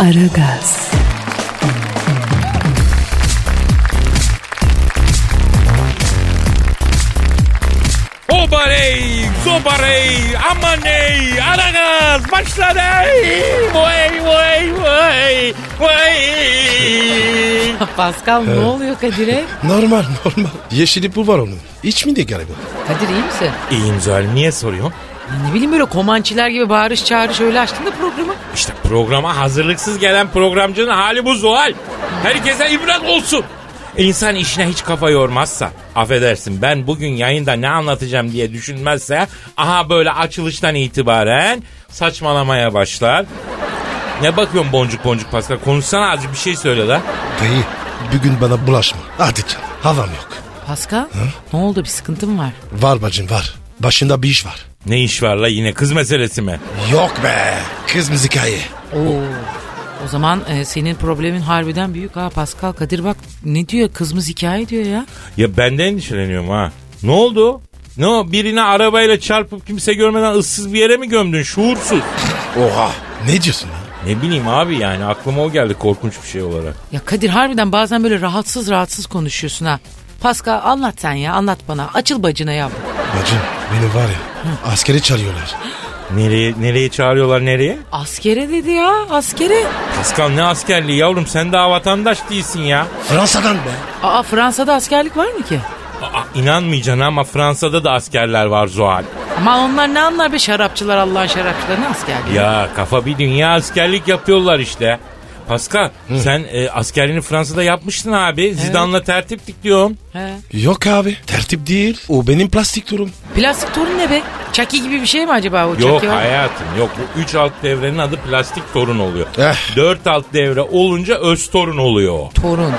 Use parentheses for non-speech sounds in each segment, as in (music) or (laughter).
Aragaz, Obarey, zobarey, amaney, aragaz, başladı. Vay vay vay vay. Pascal ne oluyor Kadir'e? Normal normal. Yeşili bu var onun. İç mi de galiba? Kadir iyi misin? İyiyim Zuhal, niye soruyorsun? Ne bileyim böyle komançiler gibi bağırış çağırış öyle açtın da programı. İşte programa hazırlıksız gelen programcının hali bu Zuhal. Herkese ibret olsun. İnsan işine hiç kafa yormazsa, affedersin ben bugün yayında ne anlatacağım diye düşünmezse, aha böyle açılıştan itibaren saçmalamaya başlar. Ne bakıyorsun boncuk boncuk Pascal? Konuşsana azıcık bir şey söyle la. Dayı bugün bana bulaşma. Hadi can. Havam yok. Pascal ne oldu bir sıkıntın var? Var bacım var. Başında bir iş var. Ne iş var la yine kız meselesi mi? Yok be. Kız müzikayı. Oo. O zaman e, senin problemin harbiden büyük ha Pascal Kadir bak ne diyor kızımız hikaye diyor ya. Ya benden endişeleniyorum ha. Ne oldu? Ne o birine arabayla çarpıp kimse görmeden ıssız bir yere mi gömdün şuursuz? Oha. Ne diyorsun lan? Ne bileyim abi yani aklıma o geldi korkunç bir şey olarak. Ya Kadir harbiden bazen böyle rahatsız rahatsız konuşuyorsun ha. Pascal anlat sen ya anlat bana açıl bacına yavrum. Bacım beni var ya. Askeri çağırıyorlar. Nereye nereye çağırıyorlar nereye? Askere dedi ya askere. Pascal ne askerliği yavrum sen daha vatandaş değilsin ya. Fransa'dan be. Aa Fransa'da askerlik var mı ki? Aa, inanmayacaksın ama Fransa'da da askerler var Zuhal. Ama onlar ne anlar be şarapçılar Allah'ın şarapçıları ne askerliği? Ya kafa bir dünya askerlik yapıyorlar işte. Pascal sen e, askerliğini Fransa'da yapmıştın abi. Zidane'la tertiptik diyorum. He. Yok abi. Tertip değil. O benim plastik durum. Plastik torun ne be? Çaki gibi bir şey mi acaba o Yok çaki? hayatım yok. Bu 3 alt devrenin adı plastik torun oluyor. Eh. 4 alt devre olunca öz torun oluyor. Torun.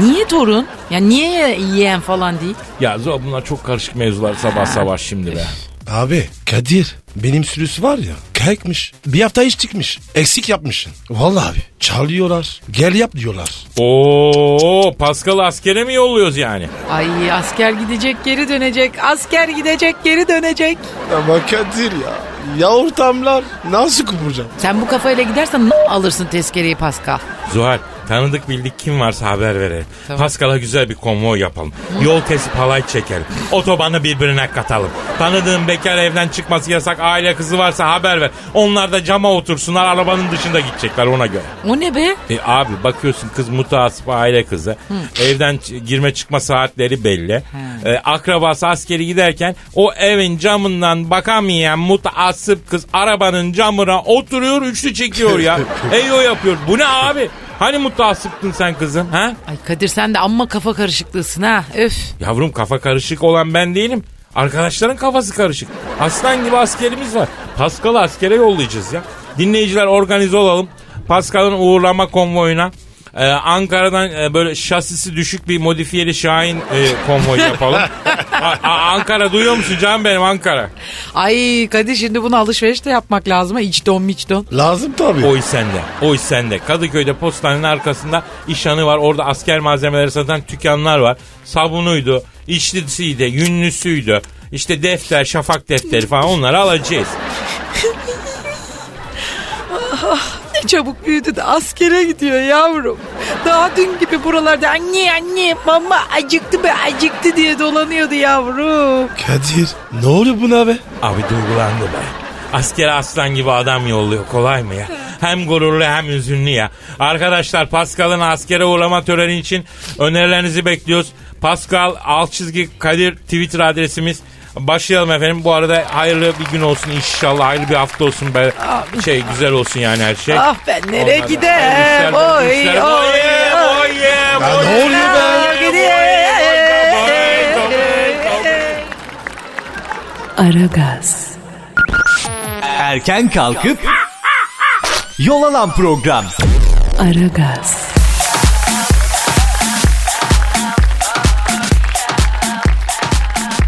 Niye torun? Ya niye yeğen falan değil? Ya Zuhal bunlar çok karışık mevzular sabah sabah şimdi be. Abi Kadir benim sürüsü var ya kayıkmış. Bir hafta hiç çıkmış. Eksik yapmışsın. Vallahi abi çağırıyorlar. Gel yap diyorlar. Oo Pascal askere mi yolluyoruz yani? Ay asker gidecek geri dönecek. Asker gidecek geri dönecek. Ama Kadir ya. Ya ortamlar nasıl kuracağım? Sen bu kafayla gidersen n- alırsın tezkereyi Pascal. Zuhal tanıdık bildik kim varsa haber verelim. Tamam. Pascal'a güzel bir konvoy yapalım. Yol kesip halay çekelim. Otobanı birbirine katalım. Tanıdığın bekar evden çıkması yasak aile kızı varsa haber ver. Onlar da cama otursunlar arabanın dışında gidecekler ona göre. O ne be? E abi bakıyorsun kız mutasip aile kızı. Evden ç- girme çıkma saatleri belli. E, akrabası askeri giderken o evin camından bakamayan mutasip kız arabanın camına oturuyor üçlü çekiyor ya. Eyo yapıyor. Bu ne abi? Hani mutasiptin sen kızım ha? Ay Kadir sen de amma kafa karışıklığısın ha. Öf. Yavrum kafa karışık olan ben değilim. Arkadaşların kafası karışık. Aslan gibi askerimiz var. Paskal'ı askere yollayacağız ya. Dinleyiciler organize olalım. Paskal'ın uğurlama konvoyuna. e, Ankara'dan e, böyle şasisi düşük bir modifiyeli Şahin e, konvoyu yapalım. A- a- Ankara duyuyor musun canım benim Ankara? Ay Kadir şimdi bunu alışveriş de yapmak lazım ha. İç don miç don. Lazım tabii. Oy sende. Oy sende. Kadıköy'de postanenin arkasında işhanı var. Orada asker malzemeleri satan dükkanlar var. Sabunuydu, içlisiydi, yünlüsüydü. İşte defter, şafak defteri falan onları alacağız. Ne çabuk büyüdü de askere gidiyor yavrum. Daha dün gibi buralarda anne anne mama acıktı be acıktı diye dolanıyordu yavrum. Kadir ne oluyor buna be? Abi duygulandı be. Askere aslan gibi adam yolluyor kolay mı ya? Hem gururlu hem üzünlü ya. Arkadaşlar Pascal'ın askere uğrama töreni için önerilerinizi bekliyoruz. Pascal alt çizgi Kadir Twitter adresimiz. Başlayalım efendim. Bu arada hayırlı bir gün olsun inşallah. Hayırlı bir hafta olsun. Be. Şey güzel olsun yani her şey. Ah ben nereye Ondan- Hayırlı gidem? işler, Oy hayırlı işler. oy Oy, oy. oy, oy, Ya ne oluyor be? oy, oy, oy, oy, oy, oy. Aragaz, Erken erken kalkıp yol alan program. Aragaz,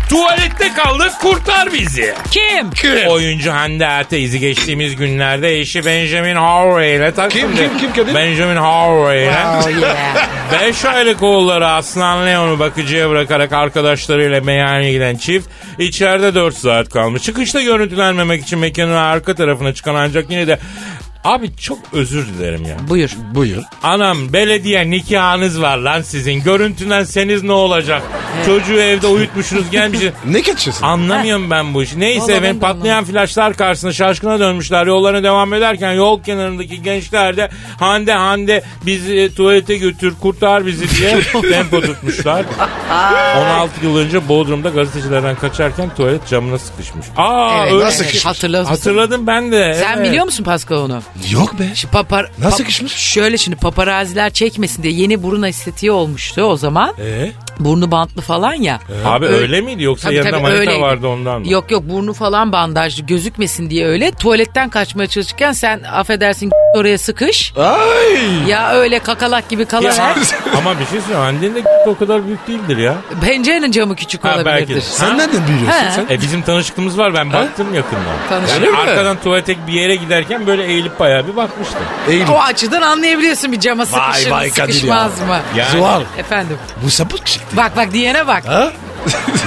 Tuvalette kaldık kurtar bizi. Kim? Oyuncu Hande Erteizi geçtiğimiz günlerde eşi Benjamin Harvey ile takıldı. Kim, kim, kim kadın? Benjamin Harvey ile. Oh yeah. (laughs) 5 aylık oğulları Aslan Leon'u bakıcıya bırakarak arkadaşlarıyla meyhaneye giden çift içeride 4 saat kalmış. Çıkışta görüntülenmemek için mekanın arka tarafına çıkan ancak yine de Abi çok özür dilerim ya. Buyur. Buyur. Anam belediye nikahınız var lan sizin. Görüntülenseniz ne olacak? Çocuğu evde uyutmuşsunuz gelmişsiniz. Ne kaçıyorsun? Anlamıyorum ben bu işi. Neyse Vallahi ben ben de patlayan flaşlar karşısında şaşkına dönmüşler. Yollarına devam ederken yol kenarındaki gençler de Hande Hande bizi e, tuvalete götür kurtar bizi (laughs) diye tempo tutmuşlar. 16 yıl önce Bodrum'da gazetecilerden kaçarken tuvalet camına sıkışmış. Aa Evet, öyle. Nasıl evet. kışmış? Hatırla- Hatırladım ben de. Sen evet. biliyor musun Pascal onu? Yok be. Şu papar... Nasıl pap- kışmış? Şöyle şimdi paparaziler çekmesin diye yeni burun estetiği olmuştu o zaman. Ee? Burnu bantlı falan ya. Abi Öyle- öyle miydi yoksa Tabii, yanında tabii, manita öyleydi. vardı ondan mı? Yok yok burnu falan bandajlı gözükmesin diye öyle. Tuvaletten kaçmaya çalışırken sen affedersin (laughs) oraya sıkış. Ah. Ay. Ya öyle kakalak gibi Ya, kalarak. ama bir şey söyleyeyim. Annenin de (laughs) o kadar büyük değildir ya. Pencerenin camı küçük Ha, belki de. olabilirdir. Sen nereden biliyorsun He. sen? E bizim tanışıklığımız var ben baktım yakından. Tanışık. Yani Öyle mi? arkadan tuvalete bir yere giderken böyle eğilip bayağı bir bakmıştım. Eğil. O açıdan anlayabiliyorsun bir cama Vay, sıkışır vay Kadir sıkışmaz ya. mı? Yani, Zuhal. Efendim. Bu sapık çıktı. Bak bak diyene bak. Ha?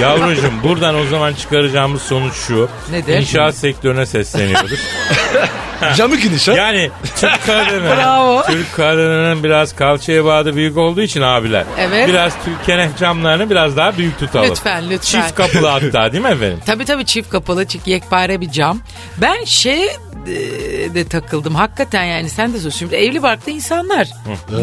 Yavrucuğum buradan o zaman çıkaracağımız sonuç şu. Nedir? İnşaat sektörüne (laughs) sesleniyoruz. Camı geniş ha? yani Türk kadını. Bravo. Türk kadının biraz kalçaya bağda büyük olduğu için abiler. Evet. Biraz Türk kenef camlarını biraz daha büyük tutalım. Lütfen, lütfen. Çift kapılı hatta değil mi efendim? Tabii tabii çift kapalı, çift yekpare bir cam. Ben şey de, de takıldım. Hakikaten yani sen de söz. Şimdi evli barklı insanlar.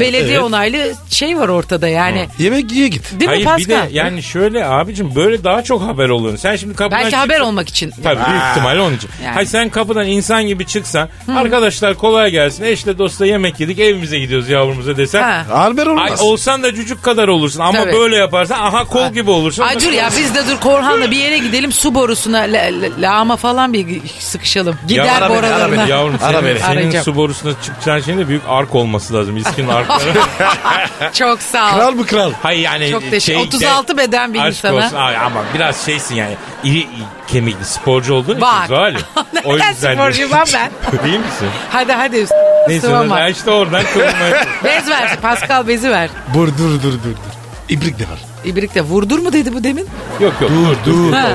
Belediye Evet. onaylı şey var ortada yani. Yemek yiye git. Değil mi Hayır bir de Pascal? yani şöyle abicim böyle daha çok haber oluyorsun. Sen şimdi kapıdan Belki çıktın- haber olmak için. Tabii büyük ihtimalle onun için. Yani. Hayır, sen kapıdan insan gibi çıksan arkadaşlar kolay gelsin eşle dostla yemek yedik evimize gidiyoruz yavrumuza desen. Ha. Harber Ay, olmaz. olsan da cücük kadar olursun ama Tabii. böyle yaparsan aha kol gibi olursun. Ay dur ya biz de dur Korhan'la bir yere gidelim su borusuna la, la- lağma falan bir sıkışalım. Gider ara beni, boralarına. Yavrum senin, senin Arayacağım. su borusuna çıkacağın şeyin de büyük ark olması lazım. İskin (laughs) arkları. Çok sağ ol. Kral mı kral? Hayır yani. Çok teşekkür- şey- 36 beden bir Aşk insana. olsun. Ay, ama biraz şeysin yani. İri, iyi kemikli sporcu olduğun Bak. için (laughs) Zuhal'im. O Neden yüzden- sporcuyum lan ben? (laughs) Değil misin? Hadi hadi Neyse sıvama. ben işte oradan kırılmaya (laughs) Bez ver Pascal bezi ver. Bur dur dur dur dur. İbrik de var. İbrik de vurdur mu dedi bu demin? Yok yok. Dur dur. Ha.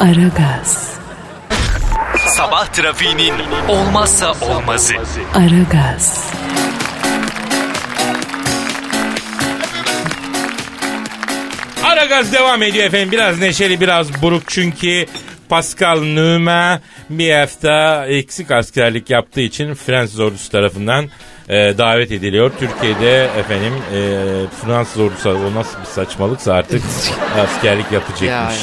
Aragaz, Sabah trafiğinin olmazsa olmazı. Aragaz, Ara gaz devam ediyor efendim. Biraz neşeli biraz buruk çünkü Pascal Numa bir hafta eksik askerlik yaptığı için Fransız ordusu tarafından e, davet ediliyor. Türkiye'de efendim e, Fransız ordusu o nasıl bir saçmalıksa (laughs) artık askerlik Ya, yapacakmış.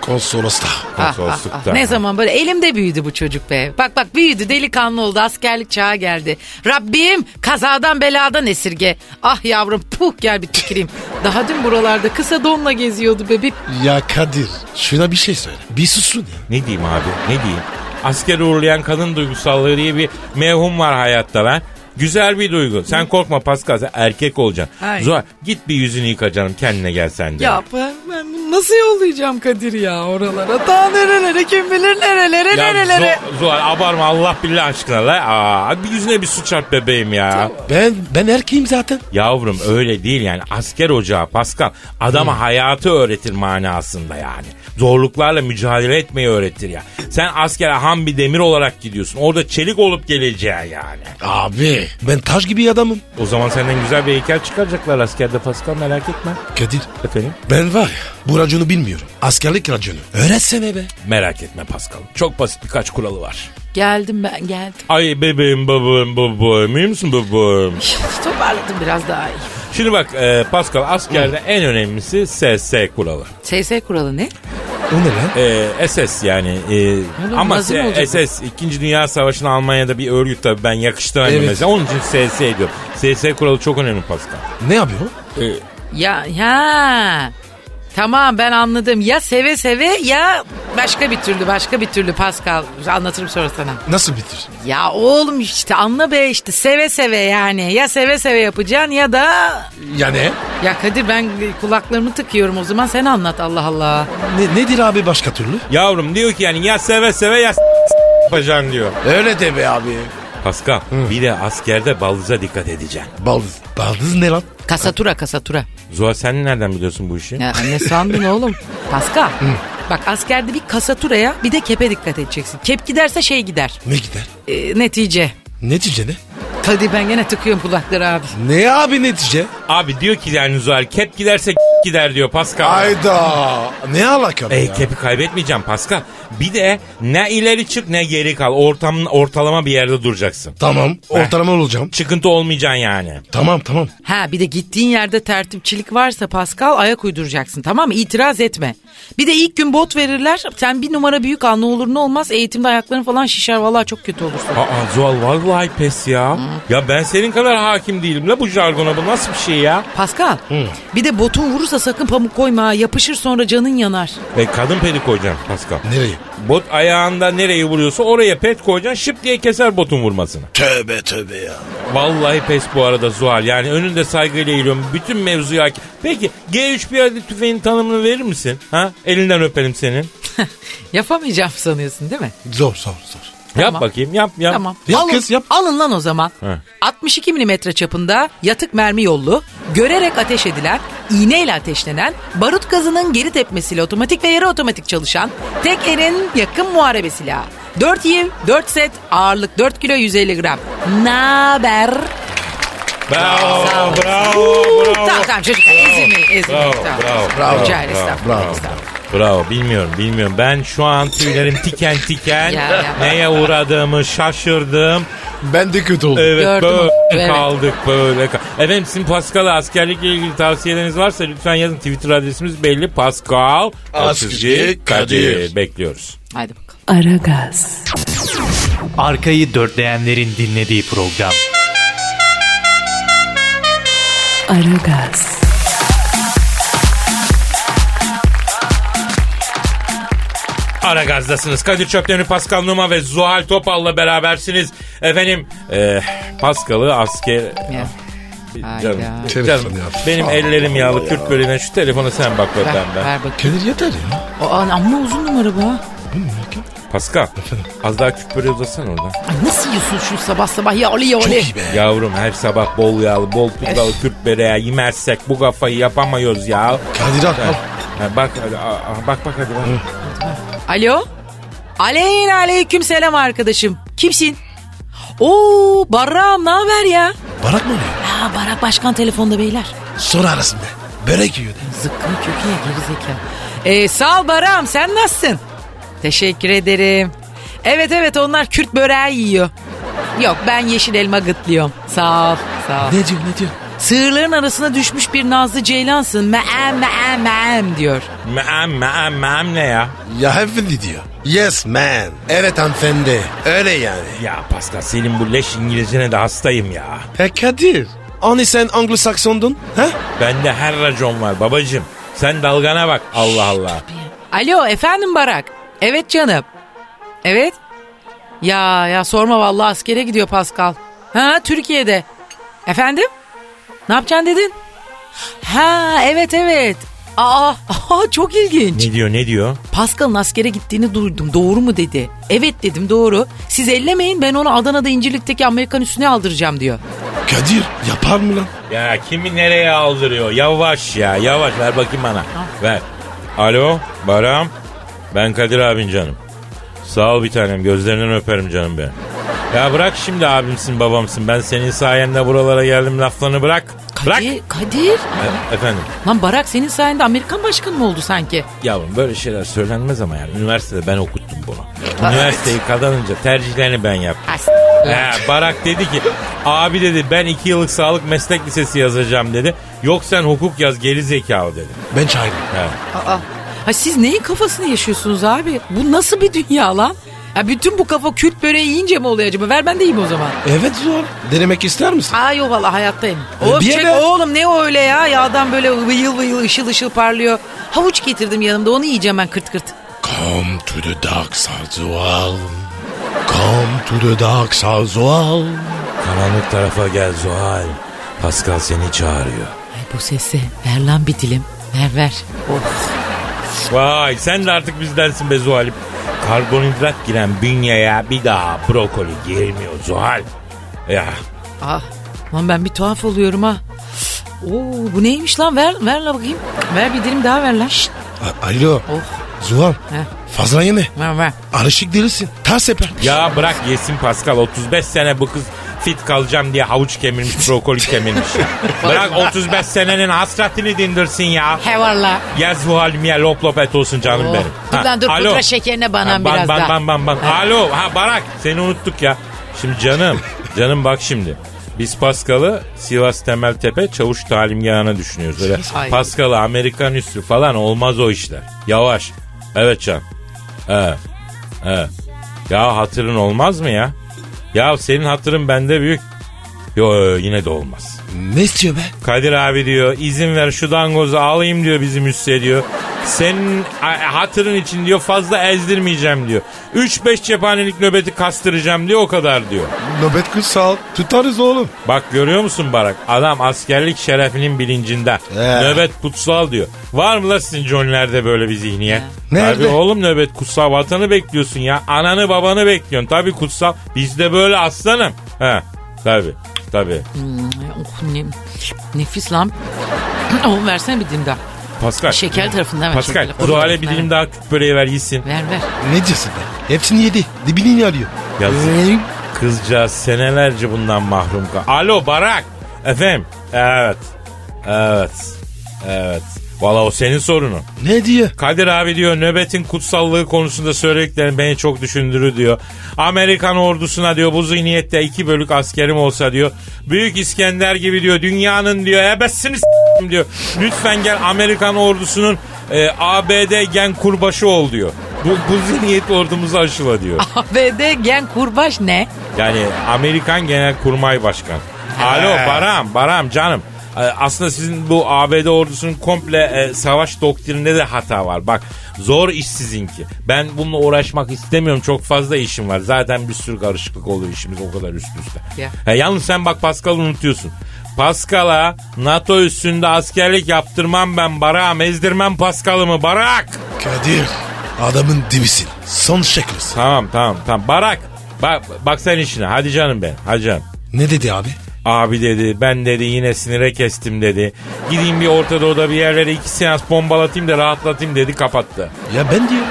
Konsolosta. Ah, ah, ah. Konsoloslukta. Ne zaman böyle elimde büyüdü bu çocuk be. Bak bak büyüdü delikanlı oldu askerlik çağı geldi. Rabbim kazadan beladan esirge. Ah yavrum puh gel bir tüküreyim. Daha dün buralarda kısa donla geziyordu be. Bir Ya Kadir şuna bir şey söyle. Bir susun ya. Ne diyeyim abi ne diyeyim? Asker uğurlayan kadın duygusallığı diye bir mevhum var hayatta lan. Güzel bir duygu. Sen korkma Pascal sen erkek olacaksın. Ay. Zuhal git bir yüzünü yıka canım kendine gel sen de. Ya ben, ben bunu nasıl yollayacağım Kadir ya oralara? Daha nerelere kim bilir nerelere Ya nerelere. Zu- Zuhal abarma Allah billah aşkına la. Aa, bir yüzüne bir su çarp bebeğim ya. Ben ben erkeğim zaten. Yavrum öyle değil yani asker ocağı Pascal adama hayatı öğretir manasında yani. Zorluklarla mücadele etmeyi öğretir ya. Sen askere ham bir demir olarak gidiyorsun. Orada çelik olup geleceğin yani. Abi ben taş gibi adamım. O zaman senden güzel bir heykel çıkaracaklar askerde Pascal merak etme. Kadir Efendim? ben var ya bu raconu bilmiyorum. Askerlik raconu. Öğretsene be. Merak etme Pascal. Çok basit birkaç kuralı var. Geldim ben geldim. (laughs) Ay bebeğim babam babam iyi misin babam? Toparladım biraz daha iyi. Şimdi bak e, Pascal askerde en önemlisi SS kuralı. SS kuralı ne? O ne lan? E, SS yani. e, oğlum, ama nazi mi se- olacak SS 2. Dünya Savaşı'nın Almanya'da bir örgüt tabii ben yakıştıramıyorum Evet. mesela. Onun için SS ediyorum. SS kuralı çok önemli Pascal. Ne yapıyor? E, Ya ya. Tamam ben anladım. Ya seve seve ya başka bir türlü başka bir türlü Pascal. Anlatırım sonra sana. Nasıl bitir? Ya oğlum işte anla be işte seve seve yani. Ya seve seve yapacaksın ya da... Ya ne? Ya Kadir ben kulaklarımı tıkıyorum o zaman sen anlat Allah Allah. ne? Nedir abi başka türlü? Yavrum diyor ki yani ya seve seve ya s- yapacaksın diyor. Öyle de be abi. Pascal bir de askerde baldıza dikkat edeceksin. Baldız. Baldız ne lan? Kasatura kasatura. Zuhal sen nereden biliyorsun bu işi? Ya ne sandın oğlum? Pascal. Bak askerde bir kasaturaya bir de kepe dikkat edeceksin. Kep giderse şey gider. Ne gider? Ee, netice. Netice ne? Kadir ben gene tıkıyorum kulakları abi. Ne abi netice? Abi diyor ki yani Zuhal kep giderse gider diyor Pascal. Ayda. Ne alaka be Ey ya? kepi kaybetmeyeceğim Pascal. Bir de ne ileri çık ne geri kal. Ortamın ortalama bir yerde duracaksın. Tamam. Eh. Ortalama olacağım. Çıkıntı olmayacaksın yani. Tamam tamam. Ha bir de gittiğin yerde tertipçilik varsa Pascal ayak uyduracaksın tamam mı? İtiraz etme. Bir de ilk gün bot verirler. Sen bir numara büyük al ne olur ne olmaz. Eğitimde ayakların falan şişer vallahi çok kötü olursun. Aa Zuhal vallahi pes ya. Ya ben senin kadar hakim değilim la bu jargona bu nasıl bir şey ya? Pascal bir de botun vurursa sakın pamuk koyma. ha. Yapışır sonra canın yanar. E, kadın pedi koyacaksın Pascal. Nereye? Bot ayağında nereyi vuruyorsa oraya pet koyacaksın şıp diye keser botun vurmasını. Tövbe tövbe ya. Vallahi pes bu arada Zuhal yani önünde saygıyla eğiliyorum bütün mevzuya hakim. Peki G3 bir adet tüfeğin tanımını verir misin? Ha? Elinden öpelim senin. Yapamayacağım sanıyorsun değil mi? Zor zor zor. Yap Tamam. bakayım yap yap. Tamam. Yap alın, kız, yap. alın lan o zaman. He. 62 milimetre çapında yatık mermi yollu, görerek ateş edilen, iğneyle ateşlenen, barut gazının geri tepmesiyle otomatik ve yarı otomatik çalışan, tek elin yakın muharebe silahı. 4 yiv, 4 set, ağırlık 4 kilo 150 gram. Naber? Bravo Sağ bravo ol. bravo. Tamam tamam çocuklar ezilmeyin ezilmeyin. Bravo, Tamam. bravo, bravo, Rica ederim, bravo, estağfurullah, bravo. estağfurullah. Bravo bilmiyorum bilmiyorum. Ben şu an tüylerim tiken tiken. Ya, ya. Neye uğradığımı şaşırdım. Ben de kötü oldum. Evet Gördüm. böyle Evet. kaldık böyle kaldık. Efendim sizin Pascal'a askerlikle ilgili tavsiyeleriniz varsa lütfen yazın. Twitter adresimiz belli. Pascal Askizgi Kadir. Bekliyoruz. Haydi bakalım. Aragaz, Arkayı dörtleyenlerin dinlediği program. Aragaz, Ara gazdasınız. Kadir Çöpleri, Pascal Numa ve Zuhal Topal'la berabersiniz. Efendim e, Pascal'ı asker... Ya. Ah, Hayda. Canım, Telefon canım, ya. benim Allah ellerim yağlı Kürt bölüğüne şu telefonu sen bak Ver, öpem (laughs) ben. ver bakayım. Kadir yeter ya. Aa, amma uzun numara bu. ha. Pascal az daha Kürt böreği uzasana oradan. Ay nasıl yiyorsun şu sabah sabah ya oli ya oli. Çok iyi be. Yavrum her sabah bol yağlı bol tuzlu Kürt böreği yemezsek bu kafayı yapamıyoruz ya. Kadir al. al. Ha, bak hadi, a- a- bak bak hadi bak. Alo. Aleyhine aleyküm selam arkadaşım. Kimsin? Oo Barra'm ne haber ya? Barak mı oluyor? Ha Barak Başkan telefonda beyler. Sonra arasın be. Börek yiyor de. Zıkkım kökü ya gerizekalı. Ee, sağ ol Barra'm sen nasılsın? Teşekkür ederim. Evet evet onlar Kürt böreği yiyor. Yok ben yeşil elma gıtlıyorum. Sağ ol sağ ol. Ne diyor ne diyor? Sığırların arasına düşmüş bir Nazlı Ceylansın. Meem meem meem diyor. Meem meem meem ne ya? Ya hanımefendi diyor. Yes man. Evet hanımefendi. Öyle yani. Ya Pascal senin bu leş İngilizcene de hastayım ya. He Kadir. Hani sen Anglo-Saksondun? He? Bende her racon var babacım. Sen dalgana bak. Allah Allah. Alo efendim Barak. Evet canım. Evet. Ya ya sorma vallahi askere gidiyor Pascal. Ha Türkiye'de. Efendim? Ne yapacaksın dedin? Ha evet evet. Aa, aa, çok ilginç. Ne diyor ne diyor? Pascal'ın askere gittiğini duydum. Doğru mu dedi? Evet dedim doğru. Siz ellemeyin ben onu Adana'da İncirlik'teki Amerikan üstüne aldıracağım diyor. Kadir yapar mı lan? Ya kimi nereye aldırıyor? Yavaş ya yavaş ver bakayım bana. Ver. Alo Baram. Ben Kadir abin canım. Sağ ol bir tanem gözlerinden öperim canım benim. Ya bırak şimdi abimsin babamsın. Ben senin sayende buralara geldim laflarını bırak. Bırak. Kadir, Kadir. E- efendim. Lan Barak senin sayende Amerikan başkanı mı oldu sanki? Yavrum böyle şeyler söylenmez ama yani. Üniversitede ben okuttum bunu. Üniversiteyi kazanınca tercihlerini ben yaptım. Ha, s- He, Barak dedi ki abi dedi ben iki yıllık sağlık meslek lisesi yazacağım dedi. Yok sen hukuk yaz geri zekalı dedi. Ben çağırdım. He. Ha siz neyin kafasını yaşıyorsunuz abi? Bu nasıl bir dünya lan? Ya bütün bu kafa Kürt böreği yiyince mi oluyor acaba? Ver ben de yiyeyim o zaman. Evet zor. Denemek ister misin? Aa yok valla hayattayım. E, Of bir çek yere- oğlum ne o öyle ya? Yağdan böyle vıyıl vıyıl ışıl ışıl parlıyor. Havuç getirdim yanımda onu yiyeceğim ben kırt kırt. Come to the dark side Zuhal. Come to the dark side Zuhal. Karanlık tarafa gel Zuhal. Pascal seni çağırıyor. Ay bu sesi ver lan bir dilim. Ver ver. Vay sen de artık bizdensin be Zuhal'im. Karbonhidrat giren bünyeye bir daha brokoli girmiyor Zuhal. Ya Ah lan ben bir tuhaf oluyorum ha. Oo bu neymiş lan ver ver la bakayım. Ver bir dilim daha ver lan. Şşt. A- Alo. Of Zuhal. He. Fazla yeme. ver ver. Arışık delisin. Ters yapar. ya bırak yesin Pascal 35 sene bu kız fit kalacağım diye havuç kemirmiş brokoli (laughs) kemirmiş. bırak 35 senenin hasretini dindirsin ya. He var la. Ya Zuhal'im ya lop lop et olsun canım Oh. benim. Dur Ha, lan dur, pudra şekerine banan ban, biraz ban, daha. Ban ban ban Alo ha Barak seni unuttuk ya. Şimdi (laughs) canım canım bak şimdi. Biz Paskal'ı Sivas Temeltepe çavuş talimgahına düşünüyoruz. Öyle Ay. Paskal'ı Amerikan üstü falan olmaz o işler. Yavaş. Evet can. Ee, ee. Ya hatırın olmaz mı ya? Ya senin hatırın bende büyük. Yo yo, yine de olmaz. Ne istiyor be? Kadir abi diyor izin ver şu dangozu alayım diyor bizim üsse diyor. Senin a- hatırın için diyor fazla ezdirmeyeceğim diyor. 3-5 cephanelik nöbeti kastıracağım diyor o kadar diyor. Nöbet kutsal. Tutarız oğlum. Bak görüyor musun Barak adam askerlik şerefinin bilincinde. Ee. Nöbet kutsal diyor. Var mı la sizin John'lerde böyle bir zihniyet? Nerede? Tabii oğlum nöbet kutsal vatanı bekliyorsun ya. Ananı babanı bekliyorsun. Tabii kutsal. Bizde böyle aslanım. He. Tabii. Tabii. Ay, Oh, ne, nefis lan. (clears throat) Oğlum versene bir dilim daha. Pascal. Şeker tarafından ver. Pascal, şekerli. Zuhal'e bir dilim daha küp böreği ver yesin. Ver (laughs) ver. Ne diyorsun be? Hepsini yedi. Dibini yine arıyor. Yazık. Kızcağız senelerce bundan mahrum kal. Alo Barak. Efendim. Evet. Evet. Evet. Valla o senin sorunun. Ne diyor? Kadir abi diyor nöbetin kutsallığı konusunda söylediklerin beni çok düşündürü diyor. Amerikan ordusuna diyor bu zihniyette iki bölük askerim olsa diyor. Büyük İskender gibi diyor dünyanın diyor ebessini s**tim diyor. Lütfen gel Amerikan ordusunun e, ABD gen kurbaşı ol diyor. Bu, bu zihniyet ordumuzu aşıla diyor. ABD gen kurbaş ne? Yani Amerikan Genel Kurmay Başkan. Alo Baram, Baram canım. Ee, Aslında sizin bu ABD ordusunun komple e, savaş doktrininde de hata var. Bak zor iş sizinki. Ben bununla uğraşmak istemiyorum. Çok fazla işim var. Zaten bir sürü karışıklık oluyor işimiz o kadar üst üste. Ya. Ha, yalnız sen bak Pascal'ı unutuyorsun. Pascal'a NATO üstünde askerlik yaptırmam ben Barak'ım. Ezdirmem Pascal'ımı Barak. Kadir. Adamın dibisin. Son şeklisin. Tamam tamam tamam. Barak. Bak, bak sen işine. Hadi canım ben. Hadi canım. Ne dedi abi? Abi dedi ben dedi yine sinire kestim dedi. Gideyim bir Orta Doğu'da bir yerlere iki seans bombalatayım da rahatlatayım dedi kapattı. Ya ben diyor.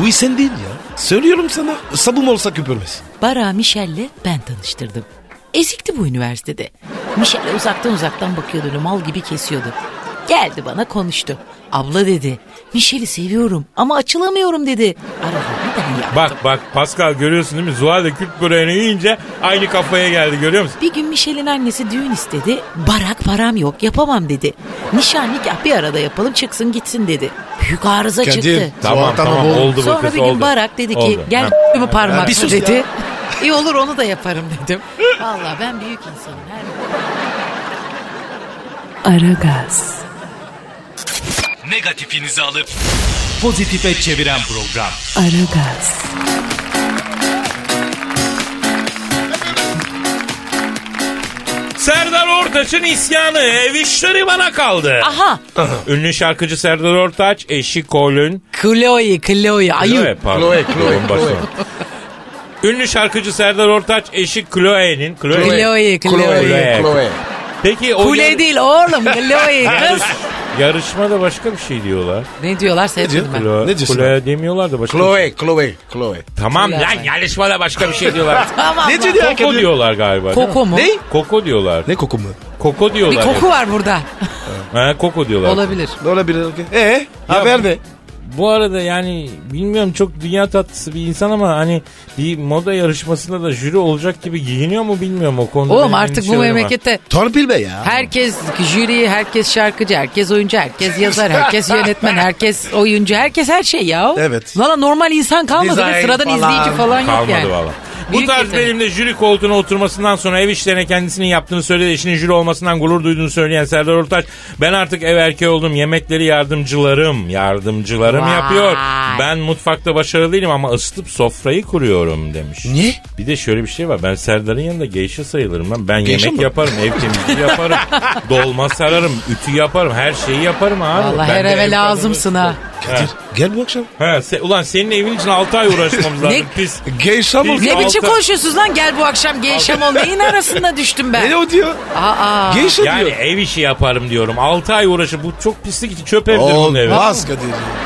Bu iş sen değil ya. Söylüyorum sana. Sabun olsa köpürmez. Bara Michel'le ben tanıştırdım. Ezikti bu üniversitede. Michel'e uzaktan uzaktan bakıyordu öyle mal gibi kesiyordu. Geldi bana konuştu. Abla dedi. Michel'i seviyorum ama açılamıyorum dedi. Aralarını ben yaptım. Bak bak Pascal görüyorsun değil mi? Zuhal da Kürt böreğini yiyince aynı kafaya geldi görüyor musun? Bir gün Michel'in annesi düğün istedi. Barak param yok yapamam dedi. Nişan nikah bir arada yapalım çıksın gitsin dedi. Büyük arıza Kadir, çıktı. Tamam Zuhal tamam tamam oğlum. oldu bu Sonra kız, bir gün oldu. Barak dedi ki Oldu. gel Ha. mi parmakla Bir sus ya. dedi. (laughs) İyi olur onu da yaparım dedim. Valla ben büyük insanım. Her Aragaz, Negatifinizi alıp pozitife çeviren program. Aragaz, Serdar Ortaç'ın isyanı ev işleri bana kaldı. Aha Ünlü şarkıcı Serdar Ortaç eşi Colin Chloe, Chloe, ayı. Chloe, pardon. Chloe, Chloe. Ünlü şarkıcı Serdar Ortaç eşi Chloe'nin Chloe. Chloe, Chloe. Chloe. Peki o Kule yarı- değil (laughs) oğlum, Chloe kız. yarışmada başka bir şey diyorlar. ne diyorlar sevdim ben. Kula, Ne diyorsun kulaya demiyorlar da başka bir şey. Chloe, Chloe, Chloe. Tamam Kula. lan yarışmada başka bir şey diyorlar. Tamam. Ne Ne diyor ya? (laughs) Koko diyorlar galiba. değil mi? Koko mu? Ne? Koko diyorlar. Ne koku mu? Koko Bir diyorlar. koku var burada. He, koko diyorlar. Olabilir. Ee? Ne olabilir? Eee? Haber ne? Bu arada yani bilmiyorum çok dünya tatlısı bir insan ama hani bir moda yarışmasında da jüri olacak gibi giyiniyor mu bilmiyorum o konuda. Oğlum benim artık bu endişelerim var. memlekette Torpil be ya. herkes jüri, herkes şarkıcı, herkes oyuncu, herkes yazar, herkes yönetmen, herkes oyuncu, herkes her şey ya. Evet. Valla normal insan kalmadı. Design ve Sıradan falan. izleyici falan yok Kalmadı yani. valla. Bu Büyük tarz yetenek. benimle jüri koltuğuna oturmasından sonra ev işlerine kendisinin yaptığını söyledi. Eşinin jüri olmasından gurur duyduğunu söyleyen Serdar Ortaç. Ben artık ev erkeği oldum. Yemekleri yardımcılarım. Yardımcılarım Vay. yapıyor. Ben mutfakta başarılı değilim ama ısıtıp sofrayı kuruyorum demiş. Niye? Bir de şöyle bir şey var. Ben Serdar'ın yanında geyşe sayılırım lan. Ben Geyşe yemek mi? yaparım. Ev temizliği yaparım. dolma sararım. Ütü yaparım. Her şeyi yaparım abi. Valla Ben her de ev eve kadını- lazımsın ha. Kadir gel bu akşam. He, se- ulan senin evin için 6 ay uğraşmamız lazım. (laughs) Ne- Pis. Geyşe mi? Biz- Ne Altı- biçim konuşuyorsunuz lan gel bu akşam gevşem ol. Neyin arasında düştüm ben? Ne o diyor? Aa, Geyşe Yani diyor. ev işi yaparım diyorum. 6 ay uğraşıp bu çok pislik için çöp evdir bunun evi. Olmaz Kadir.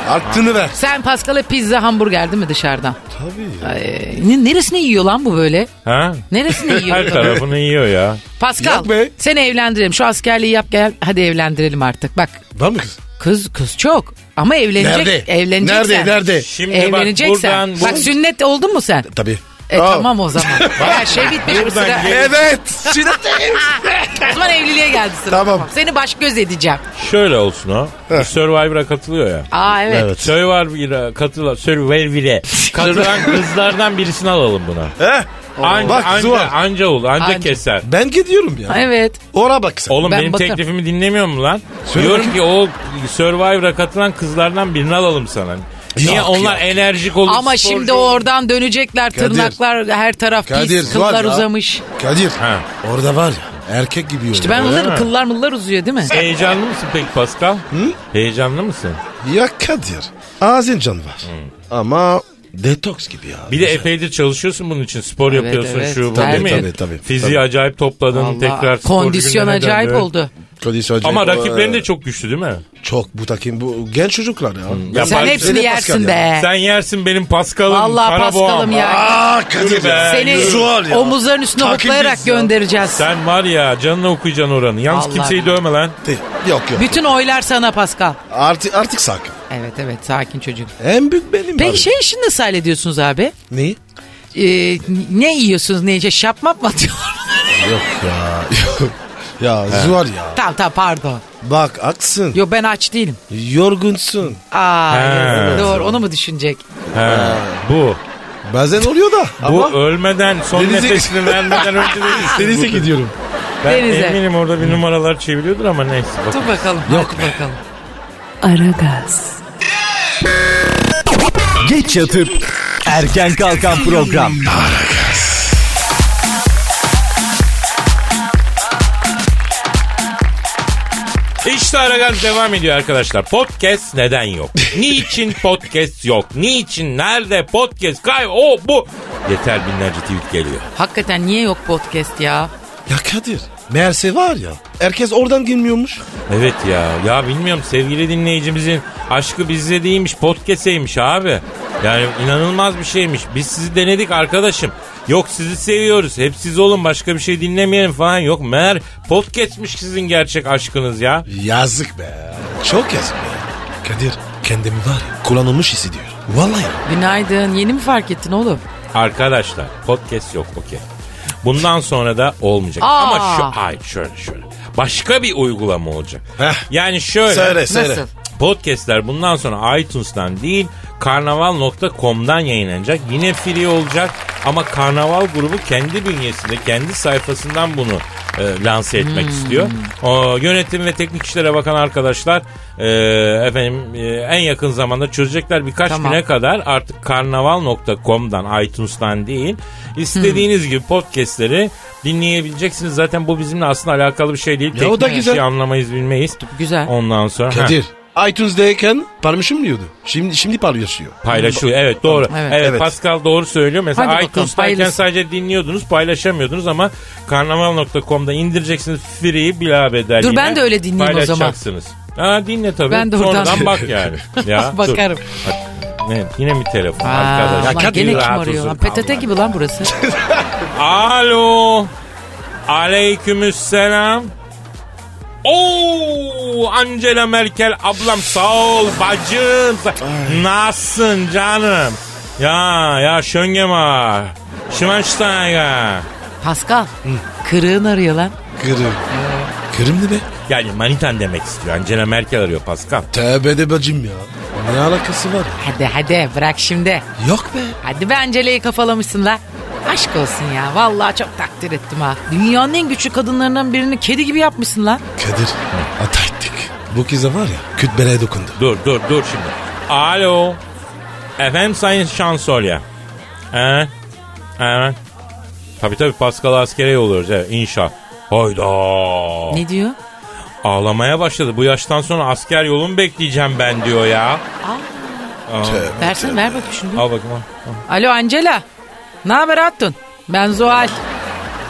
Arttığını ver. sen Pascal'a pizza hamburger değil mi dışarıdan? Tabii. Ee, ne- neresini yiyor lan bu böyle? Ha? Neresini yiyor? Her tarafını yiyor ya. Pascal Yok be. seni evlendirelim. Şu askerliği yap gel. Hadi evlendirelim artık. Bak Var mı kız? kız kız çok. Ama evlenecek. Nerede? Evleneceksen. Nerede? Nerede? Şimdi Evleneceksen. bak buradan... Bak sünnet oldun mu sen? Tabii. E tamam (laughs) o zaman. Her şey bitmiş bu Buradan sıra. gel- Evet. O zaman evliliğe geldi sıra. Tamam. Seni baş göz edeceğim. Şöyle olsun o. Bu Survivor'a katılıyor ya. Aa evet. Evet. Survivor'a katılan, Survivor'e katılan kızlardan birisini alalım buna. Heh. Anca, Bak, anca, Zuhal. anca olur, anca, Anca. keser. Ben gidiyorum ya. Evet. Ora bak sen. Oğlum Ben benim bakarım. teklifimi dinlemiyor mu lan? Söyle Diyorum ki o Survivor'a katılan kızlardan birini alalım sana. Niye Yok, onlar enerjik olur? Ama sporcu şimdi olur. oradan dönecekler tırnaklar her taraf Kadir, pis kıllar var ya. uzamış. Kadir. Ha. Orada var ya. Erkek gibi yürüyor. İşte ben Öyle onların mi? kıllar mıllar uzuyor değil mi? Heyecanlı mısın peki Pascal? Heyecanlı mısın? Ya Kadir. Ağzın canı var. Ama detoks gibi ya. Bir de epeydir çalışıyorsun bunun için. Spor Evet, yapıyorsun evet. şu bu Tabii, değil mi? tabii, tabii. Fiziği Tabii. acayip topladın tekrar. Vallahi sporcu kondisyon gündeme acayip döndün. oldu. Kadir Sancı- Ama Ee, rakiplerin de çok güçlü değil mi? Çok bu takım bu genç çocuklar ya. Ya Sen Pascal- hepsini Zeynep yersin Pascal be. Sen yersin benim Pascal'ım. Vallahi Karaboğam. Pascal'ım ya. Aa Kadir. Yürü be. Seni yürü. Zuhal ya. omuzların üstüne Takip hoplayarak ediyorsun ya. göndereceğiz. Sen var ya canına okuyacaksın oranı. Yalnız Vallahi. kimseyi dövme lan. Yok yok. Bütün oylar sana Pascal. Artık artık sakin. Evet evet sakin çocuk. En büyük benim. Peki abi. şey işini nasıl hallediyorsunuz abi? Neyi? Ee, ne yiyorsunuz ne yiyeceğiz? Şapmap mı atıyorlar? Yok (laughs) ya. Ya Zuhal ya. tamam tamam pardon. Bak aksın. Yo ben aç değilim. Yorgunsun. Aa He. yazık. doğru onu mu düşünecek? He, bu. Bazen oluyor da. Bu Ama ölmeden son Denize- nefesini (laughs) vermeden önce de- denize gidiyorum. Ben Denize. eminim orada bir numaralar çeviriyordur ama neyse. Bak. Dur bakalım. Hadi bakalım. Aragaz, Geç yatıp erken kalkan program. İşte Aragaz devam ediyor arkadaşlar. Podcast neden yok? Niçin podcast yok? Niçin? Nerede podcast? Kay o bu. Yeter binlerce tweet geliyor. Hakikaten niye yok podcast ya? Ya Kadir. Meğerse var ya. Herkes oradan girmiyormuş. Evet ya. Ya bilmiyorum sevgili dinleyicimizin aşkı bizde değilmiş podcast'eymiş abi. Yani inanılmaz bir şeymiş. Biz sizi denedik arkadaşım. Yok sizi seviyoruz. Hep siz olun başka bir şey dinlemeyelim falan. Yok meğer podcast'miş sizin gerçek aşkınız ya. Yazık be. Çok yazık be. Kadir kendimi var ya kullanılmış hissediyorum. Vallahi. Günaydın. Yeni mi fark ettin oğlum? Arkadaşlar podcast yok okey. Bundan sonra da olmayacak. Aa. Ama şu hayır şöyle şöyle. Başka bir uygulama olacak. Heh. Yani şöyle. Söyle söyle. Nasıl? Podcastler bundan sonra iTunes'tan değil karnaval.com'dan yayınlanacak. Yine free olacak ama karnaval grubu kendi bünyesinde kendi sayfasından bunu e, lanse Hmm. etmek istiyor. O, yönetim ve teknik işlere bakan arkadaşlar e, efendim e, en yakın zamanda çözecekler birkaç Tamam. güne kadar artık karnaval.com'dan iTunes'tan değil istediğiniz Hmm. gibi podcastleri dinleyebileceksiniz. Zaten bu bizimle aslında alakalı bir şey değil. Ya o da Teknik güzel. şey anlamayız bilmeyiz. Güzel. Ondan sonra ha, Kadir. iTunes'deyken parmışım diyordu. Şimdi şimdi parlaşıyor. paylaşıyor. Evet doğru. Evet. Evet, Evet. Pascal doğru söylüyor. Mesela Hadi bakalım, iTunes'tayken hayırlısı. sadece dinliyordunuz paylaşamıyordunuz ama karnaval.com'da indireceksiniz free'yi bilabedel Dur, yine ben de öyle dinleyeyim o zaman. Paylaşacaksınız. Ha dinle tabii. Ben de oradan- Sonradan bak (laughs) yani. Ya, dur. Ah, Bakarım. Ne, yine mi telefon Aa, arkadaş? ulan Hadi gene kim rahat arıyor? olsun, Lan PTT tamam. gibi lan burası. Alo. Aleykümselam. Oo Oo, Angela Merkel ablam sağ ol bacım. Nasılsın canım? Ya ya şöngema. Şimanştayga. Pascal. Kırığın arıyor lan. Kırım. Kırım ne be? Yani manitan demek istiyor. Angela Merkel arıyor Pascal. Tövbe de bacım ya. Ne alakası var ya? Hadi hadi bırak şimdi. Yok be. Hadi be Angela'yı kafalamışsın la. Aşk olsun ya. Vallahi çok takdir ettim ha. Dünyanın en güçlü kadınlarından birini kedi gibi yapmışsın lan. Kadir. Hata ettik. Bu kıza var ya kütbeleye dokundu. Dur dur dur şimdi. Alo. Efendim Sayın Şansolya. Evet. Evet. Tabii tabii Pascal askere yolluyoruz evet inşallah. Hayda. Ne diyor? Ağlamaya başladı. Bu yaştan sonra asker yolunu bekleyeceğim ben diyor ya. Versene ver bakayım şunu. Al bakayım al. Alo Angela. Ne haber Hatun? Ben Zuhal.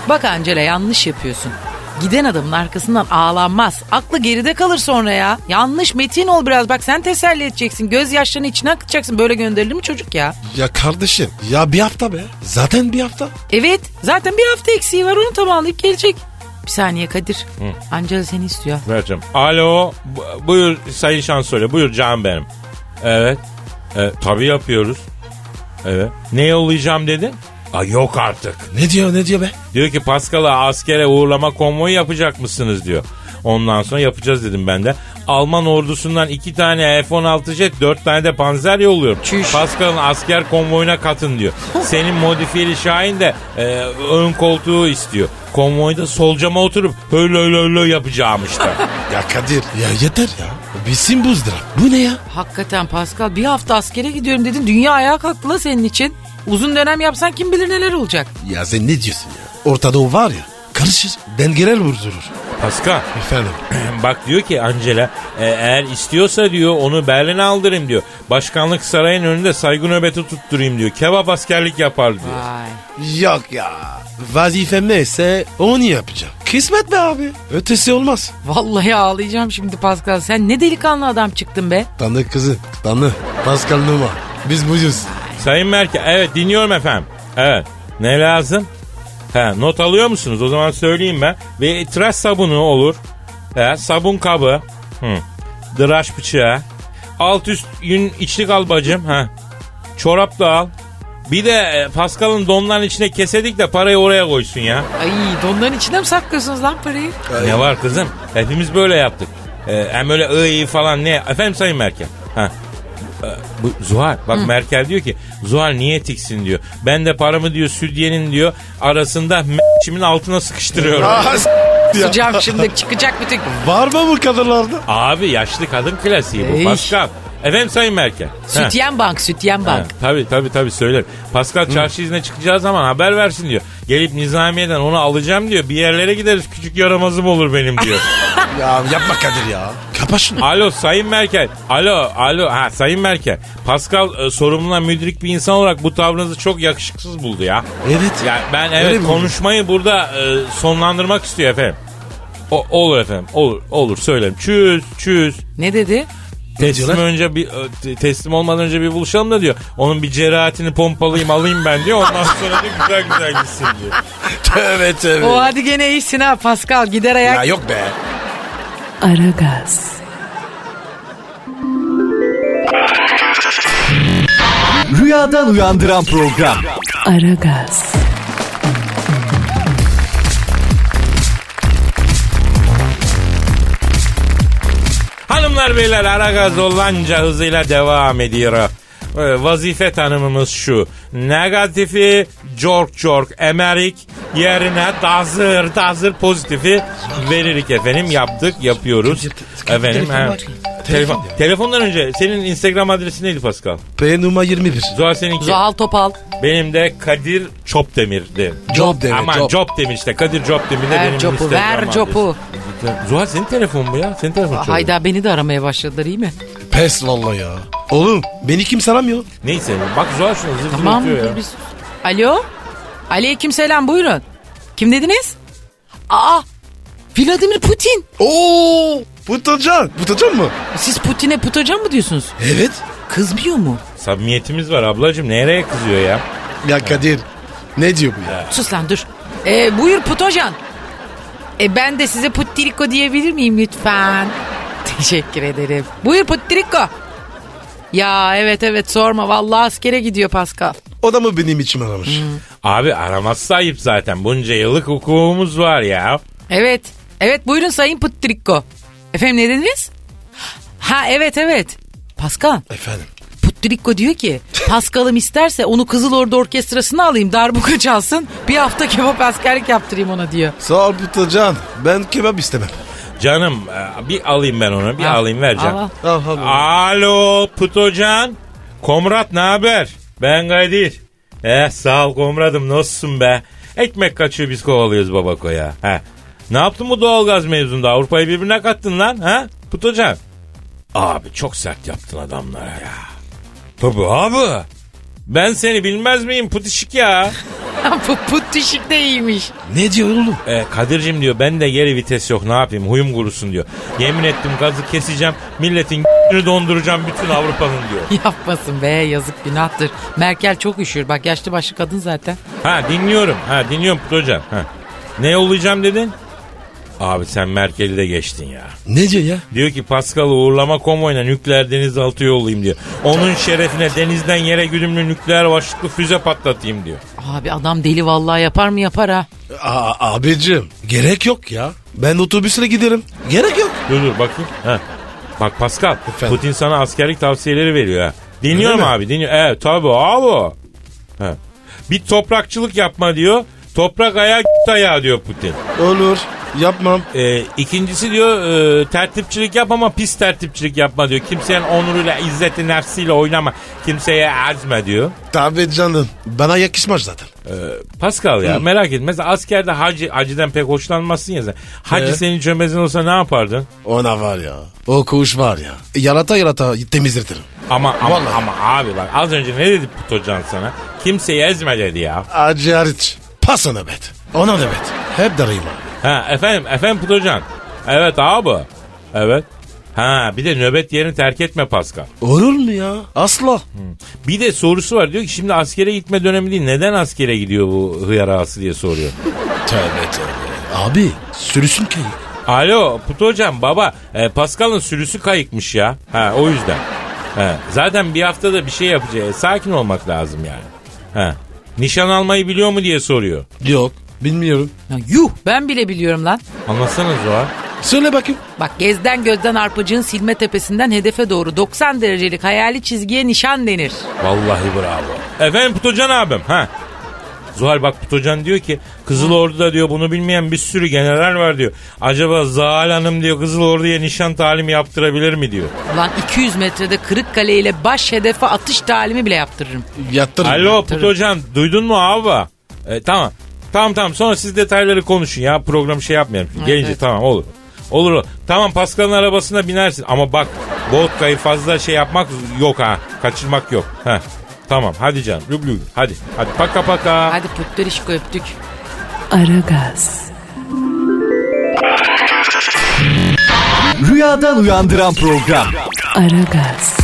Bak Angela yanlış yapıyorsun. Giden adamın arkasından ağlanmaz. Aklı geride kalır sonra ya. Yanlış metin ol biraz. Bak sen teselli edeceksin. Gözyaşlarını içine akıtacaksın. Böyle gönderilir mi çocuk ya? Ya kardeşim ya bir hafta be. Zaten bir hafta. Evet. Zaten bir hafta eksiği var. Onu tamamlayıp gelecek. Bir saniye Kadir. Angela seni istiyor. Vereceğim. Alo. bu- Buyur Sayın Şansölye. Buyur canım benim. Evet. E, tabii yapıyoruz. Evet. Ne yollayacağım dedin? Aa, yok artık. Ne diyor ne diyor be? Diyor ki Paskal'a askere uğurlama konvoyu yapacak mısınız diyor. Ondan sonra yapacağız dedim ben de. Alman ordusundan iki tane F-16 jet, dört tane de panzer yolluyorum. Çüş. Paskal'ın asker konvoyuna katın diyor. Senin modifiyeli Şahin de e, ön koltuğu istiyor. Konvoyda sol cama oturup öyle öyle öyle yapacağım işte. Ya Kadir. Ya yeter ya. Bizim buzdırak. Bu ne ya? Hakikaten Pascal bir hafta askere gidiyorum dedin. Dünya ayağa kalktı la senin için. Uzun dönem yapsan kim bilir neler olacak. Ya sen ne diyorsun ya? Ortada o var ya. Karışır. Dengeler vurdurur. Paskal Efendim. (clears throat) bak diyor ki Angela e, eğer istiyorsa diyor onu Berlin'e aldırayım diyor. Başkanlık sarayın önünde saygı nöbeti tutturayım diyor. Kebap askerlik yapar diyor. Vay. Yok ya. Vazifem neyse onu yapacağım. Kısmet be abi. Ötesi olmaz. Vallahi ağlayacağım şimdi Pascal. Sen ne delikanlı adam çıktın be. Tanı kızı. Tanı. Pascal Numa. Biz buyuz. Sayın Merkel evet dinliyorum efendim. Evet ne lazım? He, not alıyor musunuz? O zaman söyleyeyim ben. Ve tıraş sabunu olur. He, sabun kabı. Hı. Dıraş bıçağı. Alt üst yün içlik al bacım. He. Çorap da al. Bir de e, Pascal'ın donların içine kesedik de parayı oraya koysun ya. Ay donların içine mi saklıyorsunuz lan parayı? Ne var kızım? Hepimiz böyle yaptık. Ee, hem öyle iyi falan ne? Efendim Sayın Merkel. Ha. Ee, Bu Zuhal bak Merkel diyor ki Zuhal niye tiksin diyor. Ben de paramı diyor südyenin diyor arasında m***çimin altına sıkıştırıyorum. Sıcağım şimdi çıkacak bütün. Ah, (laughs) Var mı bu kadınlarda? Abi yaşlı kadın klasiği bu Ey. Pascal. Efendim Sayın Merkel. Ha. Sütyen bank, sütyen Ha, bank. Tabii tabii tabii söylerim. Pascal çarşı izne çıkacağı zaman haber versin diyor. Gelip nizamiyeden onu alacağım diyor. Bir yerlere gideriz küçük yaramazım olur benim diyor. Ya yapma Kadir ya. Kapa (laughs) şunu. Alo Sayın Merkel. Alo, alo. Ha Sayın Merkel. Pascal e, sorumluluğa müdrik bir insan olarak bu tavrınızı çok yakışıksız buldu ya. Evet. Ya ben Öyle evet mi? konuşmayı burada e, sonlandırmak istiyor efendim. O, olur efendim. Olur, olur söylerim. Çüz, çüz. Ne dedi? Teslim diyorlar? önce bir e, te- teslim olmadan önce bir buluşalım da diyor. Onun bir cerahatini pompalayayım alayım ben diyor. Ondan sonra da güzel güzel gitsin diyor. Tövbe Ee, tövbe. O hadi gene iyisin ha Pascal gider ayak. Ya yok be. Aragaz, Rüyadan uyandıran program. Aragaz, Hanımlar beyler ara gaz olanca hızıyla devam ediyor. Ee, Vazife tanımımız şu. Negatifi cork cork emerik yerine dazır dazır pozitifi veririk efendim. Yaptık yapıyoruz. Efendim telefon he. var. Telefon, Telefon. telefondan önce senin Instagram adresi neydi Pascal? P numara 21. Zuhal seninki. Zuhal Topal. Benim de Kadir Çopdemir'di. Job deme, Aman job. Demir işte. Kadir Çopdemir de benim Ver copu, Instagram ver adresim. copu. Zuhal senin telefonun mu ya? Senin telefonun çalıyor. Hayda beni de aramaya başladılar iyi mi? Pes valla ya. Oğlum beni kim saramıyor? Neyse bak Zuhal şunu zıvzır Tamam atıyor ya. dur biz. Alo. Aleyküm selam buyurun. Kim dediniz? Aa Vladimir Putin. Oo! Putacan. Putacan mı? Siz Putin'e putacan mı diyorsunuz? Evet. Kızmıyor mu? Samimiyetimiz var ablacığım nereye kızıyor ya? Ya Kadir. Ne diyor bu ya? Sus lan dur. Ee, buyur Putojan. E ben de size Puttiliko diyebilir miyim lütfen? (laughs) Teşekkür ederim. Buyur Putriko. Ya evet evet sorma vallahi askere gidiyor Pascal. O da mı benim için aramış? Abi araması ayıp zaten. Bunca yıllık hukukumuz var ya. Evet. Evet buyurun Sayın Putriko. Efendim ne dediniz? Ha evet evet. Pascal Efendim. Putriko diyor ki Pascal'ım isterse onu Kızıl Ordu Orkestrası'na alayım darbuka çalsın bir hafta kebap askerlik yaptırayım ona diyor. (laughs) Sağ ol Putacan. Ben kebap istemem. Canım e, bir alayım ben onu bir Al, alayım vereceğim. al, al. Al, al, Alo Putocan. Komrat ne haber? Ben Kadir. Eh sağ ol komradım nasılsın be? Ekmek kaçıyor biz kovalıyoruz babakoya. He. Ne yaptın bu doğalgaz mevzunda? Avrupa'yı birbirine kattın lan ha? Putocan. Abi çok sert yaptın adamlara ya. Tabii abi. Ben seni bilmez miyim putişik ya? Bu Putrişik de iyiymiş. Ne diyor oğlum? E, Kadir'cim diyor ben de geri vites yok ne yapayım huyum kurusun diyor. Yemin ettim gazı keseceğim milletin (laughs) donduracağım bütün Avrupa'nın diyor. (laughs) Yapmasın be yazık günahtır. Merkel çok üşür bak yaşlı başlı kadın zaten. Ha dinliyorum ha dinliyorum Kutu hocam. Ha. Ne yollayacağım dedin? Abi sen Merkel'i de geçtin ya. Ne diyor ya? Diyor ki Pascal'ı uğurlama konvoyuna nükleer denizaltı yollayayım diyor. Onun şerefine denizden yere güdümlü nükleer başlıklı füze patlatayım diyor. Abi adam deli vallahi yapar mı yapar ha. Aa, abicim. Gerek yok ya. Ben otobüsle giderim. Gerek yok. Dur dur bakayım. Ha. Bak Pascal Efendim? Putin sana askerlik tavsiyeleri veriyor ha. Dinliyorum Öyle mi? abi dinliyorum. Evet tabi abi. Ha. Bir toprakçılık yapma diyor. Toprak ayağı (laughs) ayağı diyor Putin. Olur. Yapmam. Ee, ikincisi diyor e, tertipçilik yap ama pis tertipçilik yapma diyor. Kimsenin onuruyla, izzeti, nefsiyle oynama. Kimseye erzme diyor. Tabii canım. Bana yakışmaz zaten. Pascal ya merak etme. Mesela askerde hacı, hacıdan pek hoşlanmazsın ya sen. Hacı Ee? senin çömezin olsa ne yapardın? Ona var ya. O kuş var ya. Yarata yarata temizletirim. Ama ama, Vallahi. ama abi bak az önce ne dedi Putocan sana? Kimseyi ezme dedi ya. Acı hariç. Pas ona bet. Ona da bet. Hep darayım abi. Ha efendim efendim Putocan. Evet abi. Evet. Ha bir de nöbet yerini terk etme Pascal. Olur mu ya? Asla. Bir de sorusu var diyor ki şimdi askere gitme dönemi değil neden askere gidiyor bu hıyar ağası diye soruyor. Tövbe tövbe. Abi sürüsün ki. Alo Puto hocam baba e, Pascal'ın sürüsü kayıkmış ya. Ha o yüzden. He, zaten bir haftada bir şey yapacağız. E, sakin olmak lazım yani. He. Nişan almayı biliyor mu diye soruyor. Yok. Bilmiyorum. Ya yuh ben bile biliyorum lan. Anlatsanız o. Söyle bakayım. Bak gezden gözden arpacığın silme tepesinden hedefe doğru 90 derecelik hayali çizgiye nişan denir. Vallahi bravo. Efendim Putocan abim. Ha. Zuhal bak Putocan diyor ki Kızıl Ordu'da diyor bunu bilmeyen bir sürü general var diyor. Acaba Zahal Hanım diyor Kızıl Ordu'ya nişan talimi yaptırabilir mi diyor. Ulan 200 metrede Kırıkkale ile baş hedefe atış talimi bile yaptırırım. Yattırın. Alo Putocan duydun mu abi? E, tamam. Tamam tamam sonra siz detayları konuşun ya program şey yapmayalım. Şimdi. Gelince evet. tamam olur. Olur olur. Tamam Pascal'ın arabasına binersin ama bak Vodka'yı fazla şey yapmak yok ha. Kaçırmak yok. Heh. Tamam hadi canım. Lüb lüb. Hadi. Hadi paka paka. Hadi putterişko öptük. Aragaz, Rüyadan uyandıran program. Aragaz,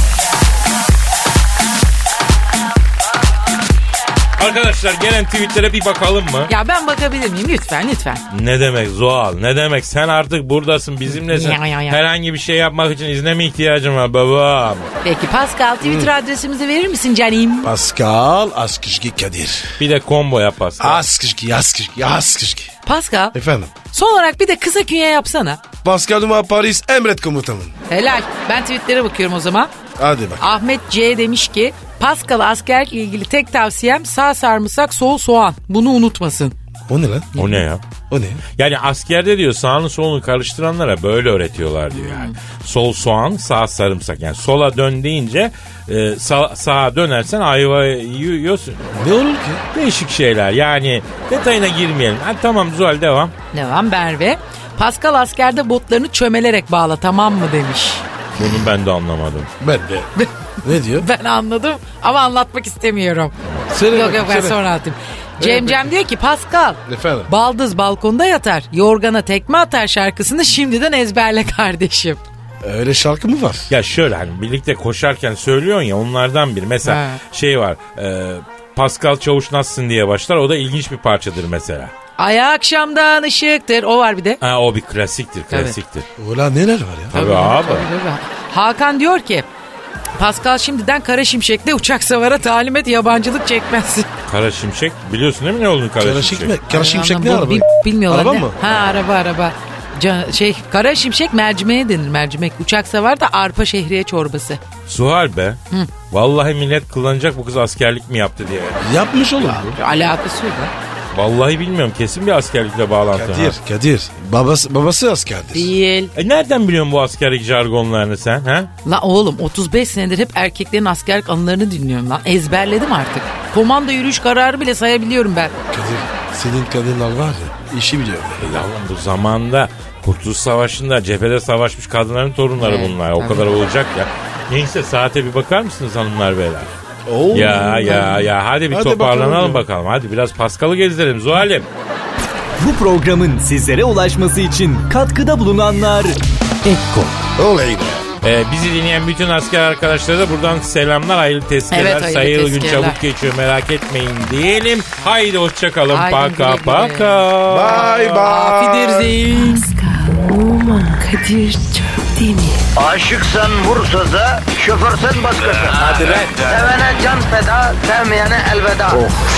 Arkadaşlar gelen tweetlere bir bakalım mı? Ya ben bakabilir miyim lütfen lütfen. Ne demek Zuhal? Ne demek? Sen artık buradasın bizimlesin. Ya, ya, ya. Herhangi bir şey yapmak için izne mi ihtiyacın var babam? Peki Pascal Twitter Hmm. adresimizi verir misin canim? Pascal Askışki Kadir. Bir de combo yap Pascal. Askışki, Askışki, Askışki. Pascal Efendim. son olarak bir de kısa künye yapsana. Pascal Numa Paris emret komutanım. Helal. Ben tweetlere bakıyorum o zaman. Hadi bak. Ahmet C demiş ki Pascal askerlikle ilgili tek tavsiyem sağ sarımsak sol soğan. Bunu unutmasın. O ne lan? O ne ya? O ne? Yani askerde diyor sağını solunu karıştıranlara böyle öğretiyorlar diyor yani. Hmm. Sol soğan, sağ sarımsak. Yani sola dön deyince e, sağ- sağa dönersen ayva yiyorsun. Ne olur ki? Değişik şeyler yani detayına girmeyelim. Ha, tamam Zuhal devam. Devam Merve. Pascal askerde botlarını çömelerek bağla tamam mı demiş. Bunu ben de anlamadım. Ben de. ne diyor? Ben anladım ama anlatmak istemiyorum. Söyle yok bakayım, yok ben söyle. sonra atayım. Cemcem diyor ki Pascal. Efendim? Baldız balkonda yatar. Yorgana tekme atar şarkısını şimdiden ezberle kardeşim. Öyle şarkı mı var? Ya şöyle hani birlikte koşarken söylüyorsun ya onlardan biri. Mesela He. şey var e, Pascal Çavuş nasılsın diye başlar o da ilginç bir parçadır mesela. Ay akşamdan ışıktır. O var bir de. Ha, o bir klasiktir klasiktir. Ulan neler var ya? Tabii abi. Hakan diyor ki Pascal şimdiden Kara Şimşek'te uçak savara talim et yabancılık çekmezsin. Kara şimşek biliyorsun değil mi ne olduğunu kara, Kara şimşek? şimşek, kara şimşek ne Bil- araba? bil- Bilmiyorlar Araba ne? mı? Ha araba araba. Ca- şey Kara Şimşek mercimeğe denir mercimek. Uçak savar da arpa şehriye çorbası. Suhal be. Vallahi millet kullanacak bu kız askerlik mi yaptı diye. Yapmış oğlum bu. Alakası yok. ha. Vallahi bilmiyorum kesin bir askerlikle bağlantı. ha. Kadir, Kadir. Babası, babası askerdir. Değil. E nereden biliyorsun bu askerlik jargonlarını sen? Ha? La oğlum 35 senedir hep erkeklerin askerlik anılarını dinliyorum lan. Ezberledim artık. Komando yürüyüş kararı bile sayabiliyorum ben. Kadir, senin kadınlar var ya, işi biliyor. E yavrum bu zamanda Kurtuluş Savaşı'nda cephede savaşmış kadınların torunları Evet, bunlar. O tabii. kadar olacak ya. Neyse saate bir bakar mısınız hanımlar beyler? Oo. Ya ya ya hadi bir Hadi toparlanalım bakalım. bakalım. Hadi biraz Paskal'ı gezdirelim Zuhal'im. Bu programın sizlere ulaşması için katkıda bulunanlar Ekko. Oley be. Ee, bizi dinleyen bütün asker arkadaşlara da buradan selamlar. Hayırlı tezkereler. Evet, hayırlı Sayılı gün tezkereler. çabuk geçiyor merak etmeyin diyelim. Haydi hoşçakalın. Haydi Paka güle güle. paka. Bye bye. Fiderzeyim. Pascal, Oman, Kadir çok değil mi? Aşıksan vursa da, şoförsen başkasın. Hadi Sevene can feda, sevmeyene elveda.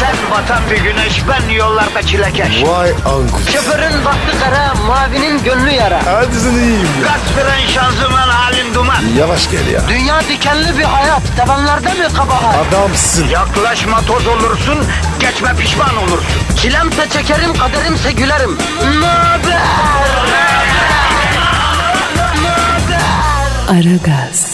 Sen batan bir güneş, ben yollarda çilekeş. Vay anku. Şoförün baktı kara, mavinin gönlü yara. Hadi sen iyiyim ya. Kasperen şanzıman halin duman. Yavaş gel ya. Dünya dikenli bir hayat, sevenlerde mi kabahar? Adamsın. Yaklaşma toz olursun, geçme pişman olursun. Çilemse çekerim, kaderimse gülerim. Möber! Aragaz.